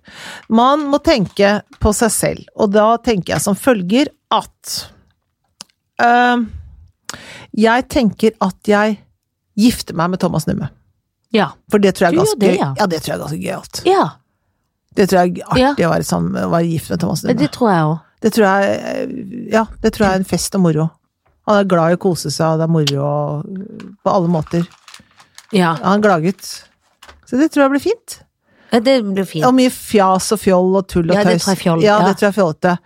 Man må tenke på seg selv, og da tenker jeg som følger at eh, Jeg tenker at jeg gifter meg med Thomas Numme. Ja. For det tror jeg er Du gjør ganske det, gøy. ja. Ja, det tror jeg er ganske gøyalt. ja. Det tror jeg er Ja. artig å, være sammen, å være gift med Thomas Numme. Det tror jeg òg. Det tror jeg eh, Ja, det tror jeg er en fest og moro. Han er glad i å kose seg, og det er moro og- på alle måter. Ja. Han glaget. Så det tror jeg blir fint. Ja, Det blir fint. Og mye fjas og fjoll og tull og Ja, tøys. det tror jeg fjoll, ja, ja. det tror jeg fjollete.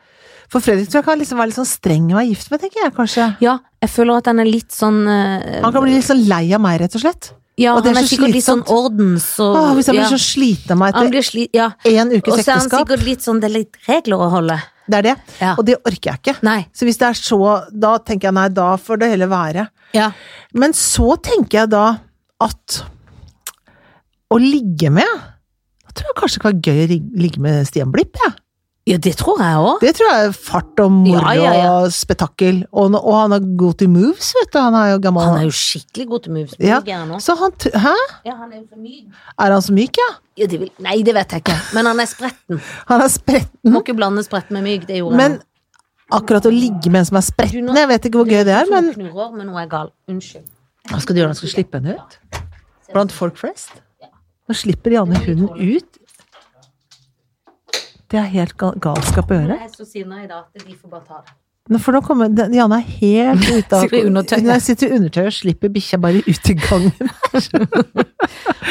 For Fredrik tror jeg kan liksom være litt sånn streng å være gift med, tenker jeg kanskje. Ja, jeg føler at han er litt sånn eh, Han kan bli litt sånn lei av meg, rett og slett. Ja, og det er han er så sikkert litt sånn slitsomt. ordens og Åh, hvis jeg blir ja. så sliten av meg Han etter blir sli... Ja. én Og ukes så er han ekteskap. sikkert litt sånn Det er litt regler å holde. Det er det. Ja. Og det orker jeg ikke. Nei. Så hvis det er så Da tenker jeg nei, da får det heller være. Ja. Men så tenker jeg da at å ligge med Da tror jeg kanskje det kan være gøy å rig- ligge med Stian Blipp, jeg. ja, det tror jeg òg. Det tror jeg er fart og moro Ja, ja, ja. og spetakkel. Og, nå- og han er god til moves, vet du. Han er jo gammel. Han er jo skikkelig god til moves. Ja. Myk er han også. Så han tr- Hæ? Ja, han er jo for myk. Er han så myk, ja? Ja, det vil, nei, det vet jeg ikke. Men han er spretten. Han er spretten. Må ikke blande spretten med myk. Det gjorde Mhm. Men han. akkurat å ligge med en som er Du, spretten, nå- jeg vet ikke hvor gøy det er, Hun men knurrer, men hun er gal. Unnskyld. Hva skal du gjøre når du skal slippe henne ut? Blant folk flest? Nå slipper Janne hunden ut. Det er helt gal galskap å gjøre. Jeg er så sinna i dag at de får bare ta det. Nå, for nå kommer den- Janne er [laughs] helt ute av Sitter i undertøyet. Nei, sitter i undertøyet og slipper bikkja bare ut i gangen.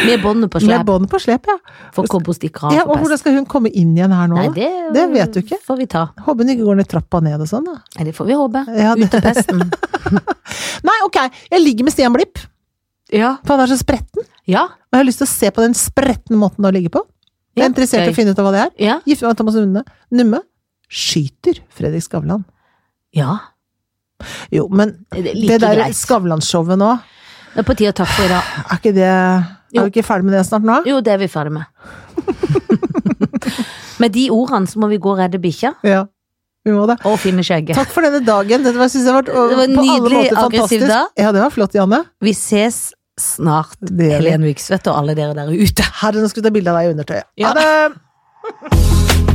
Med båndet på Med slep, bånd på slep, ja. for kobber stikker av ja. for Og hvordan pest. skal hun komme inn igjen her nå? Nei, da? det, Det vet du ikke. får vi ta. Håper hun ikke går ned trappa ned og sånn, da. Nei, det får vi håpe. Ja, det- Ut av [laughs] pesten. Nei, ok, jeg ligger med Stian Blipp, Ja. for han er så spretten. Ja. Og jeg har lyst til å se på den spretne måten å ligge på. Jeg Ja, er interessert i gøy. å finne ut av hva det er. Ja. Gifte meg med Thomas Numme. Numme skyter Fredrik Skavlan. ja. Jo, men Det er det like der greit. Skavlan-showet nå, Det er på tide å takke for i dag. er ikke det Er Jo. vi ikke ferdig med det snart nå? Jo, det er vi [laughs] ferdig med. med de ordene så må vi gå og redde bikkja Ja. Vi må det. og finne skjegget. Takk for denne dagen. Dette var, synes jeg var, var på alle nydelig måter aggressiv fantastisk. dag. Ja, det var flott, Janne. Vi ses snart, Det gjør vi. Helen Viksvedt og alle dere der ute. Herre, nå skal vi ta bilde av deg i undertøyet. Ja. Ha det!